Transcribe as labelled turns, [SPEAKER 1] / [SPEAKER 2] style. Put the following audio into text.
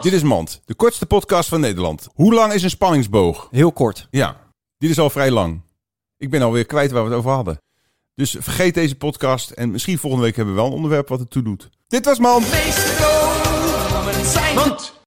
[SPEAKER 1] Dit is Mand, de kortste podcast van Nederland. Hoe lang is een spanningsboog?
[SPEAKER 2] Heel kort.
[SPEAKER 1] Ja, dit is al vrij lang. Ik ben alweer kwijt waar we het over hadden. Dus vergeet deze podcast en misschien volgende week hebben we wel een onderwerp wat het toe doet. Dit was Mand.
[SPEAKER 3] meeste komen zijn.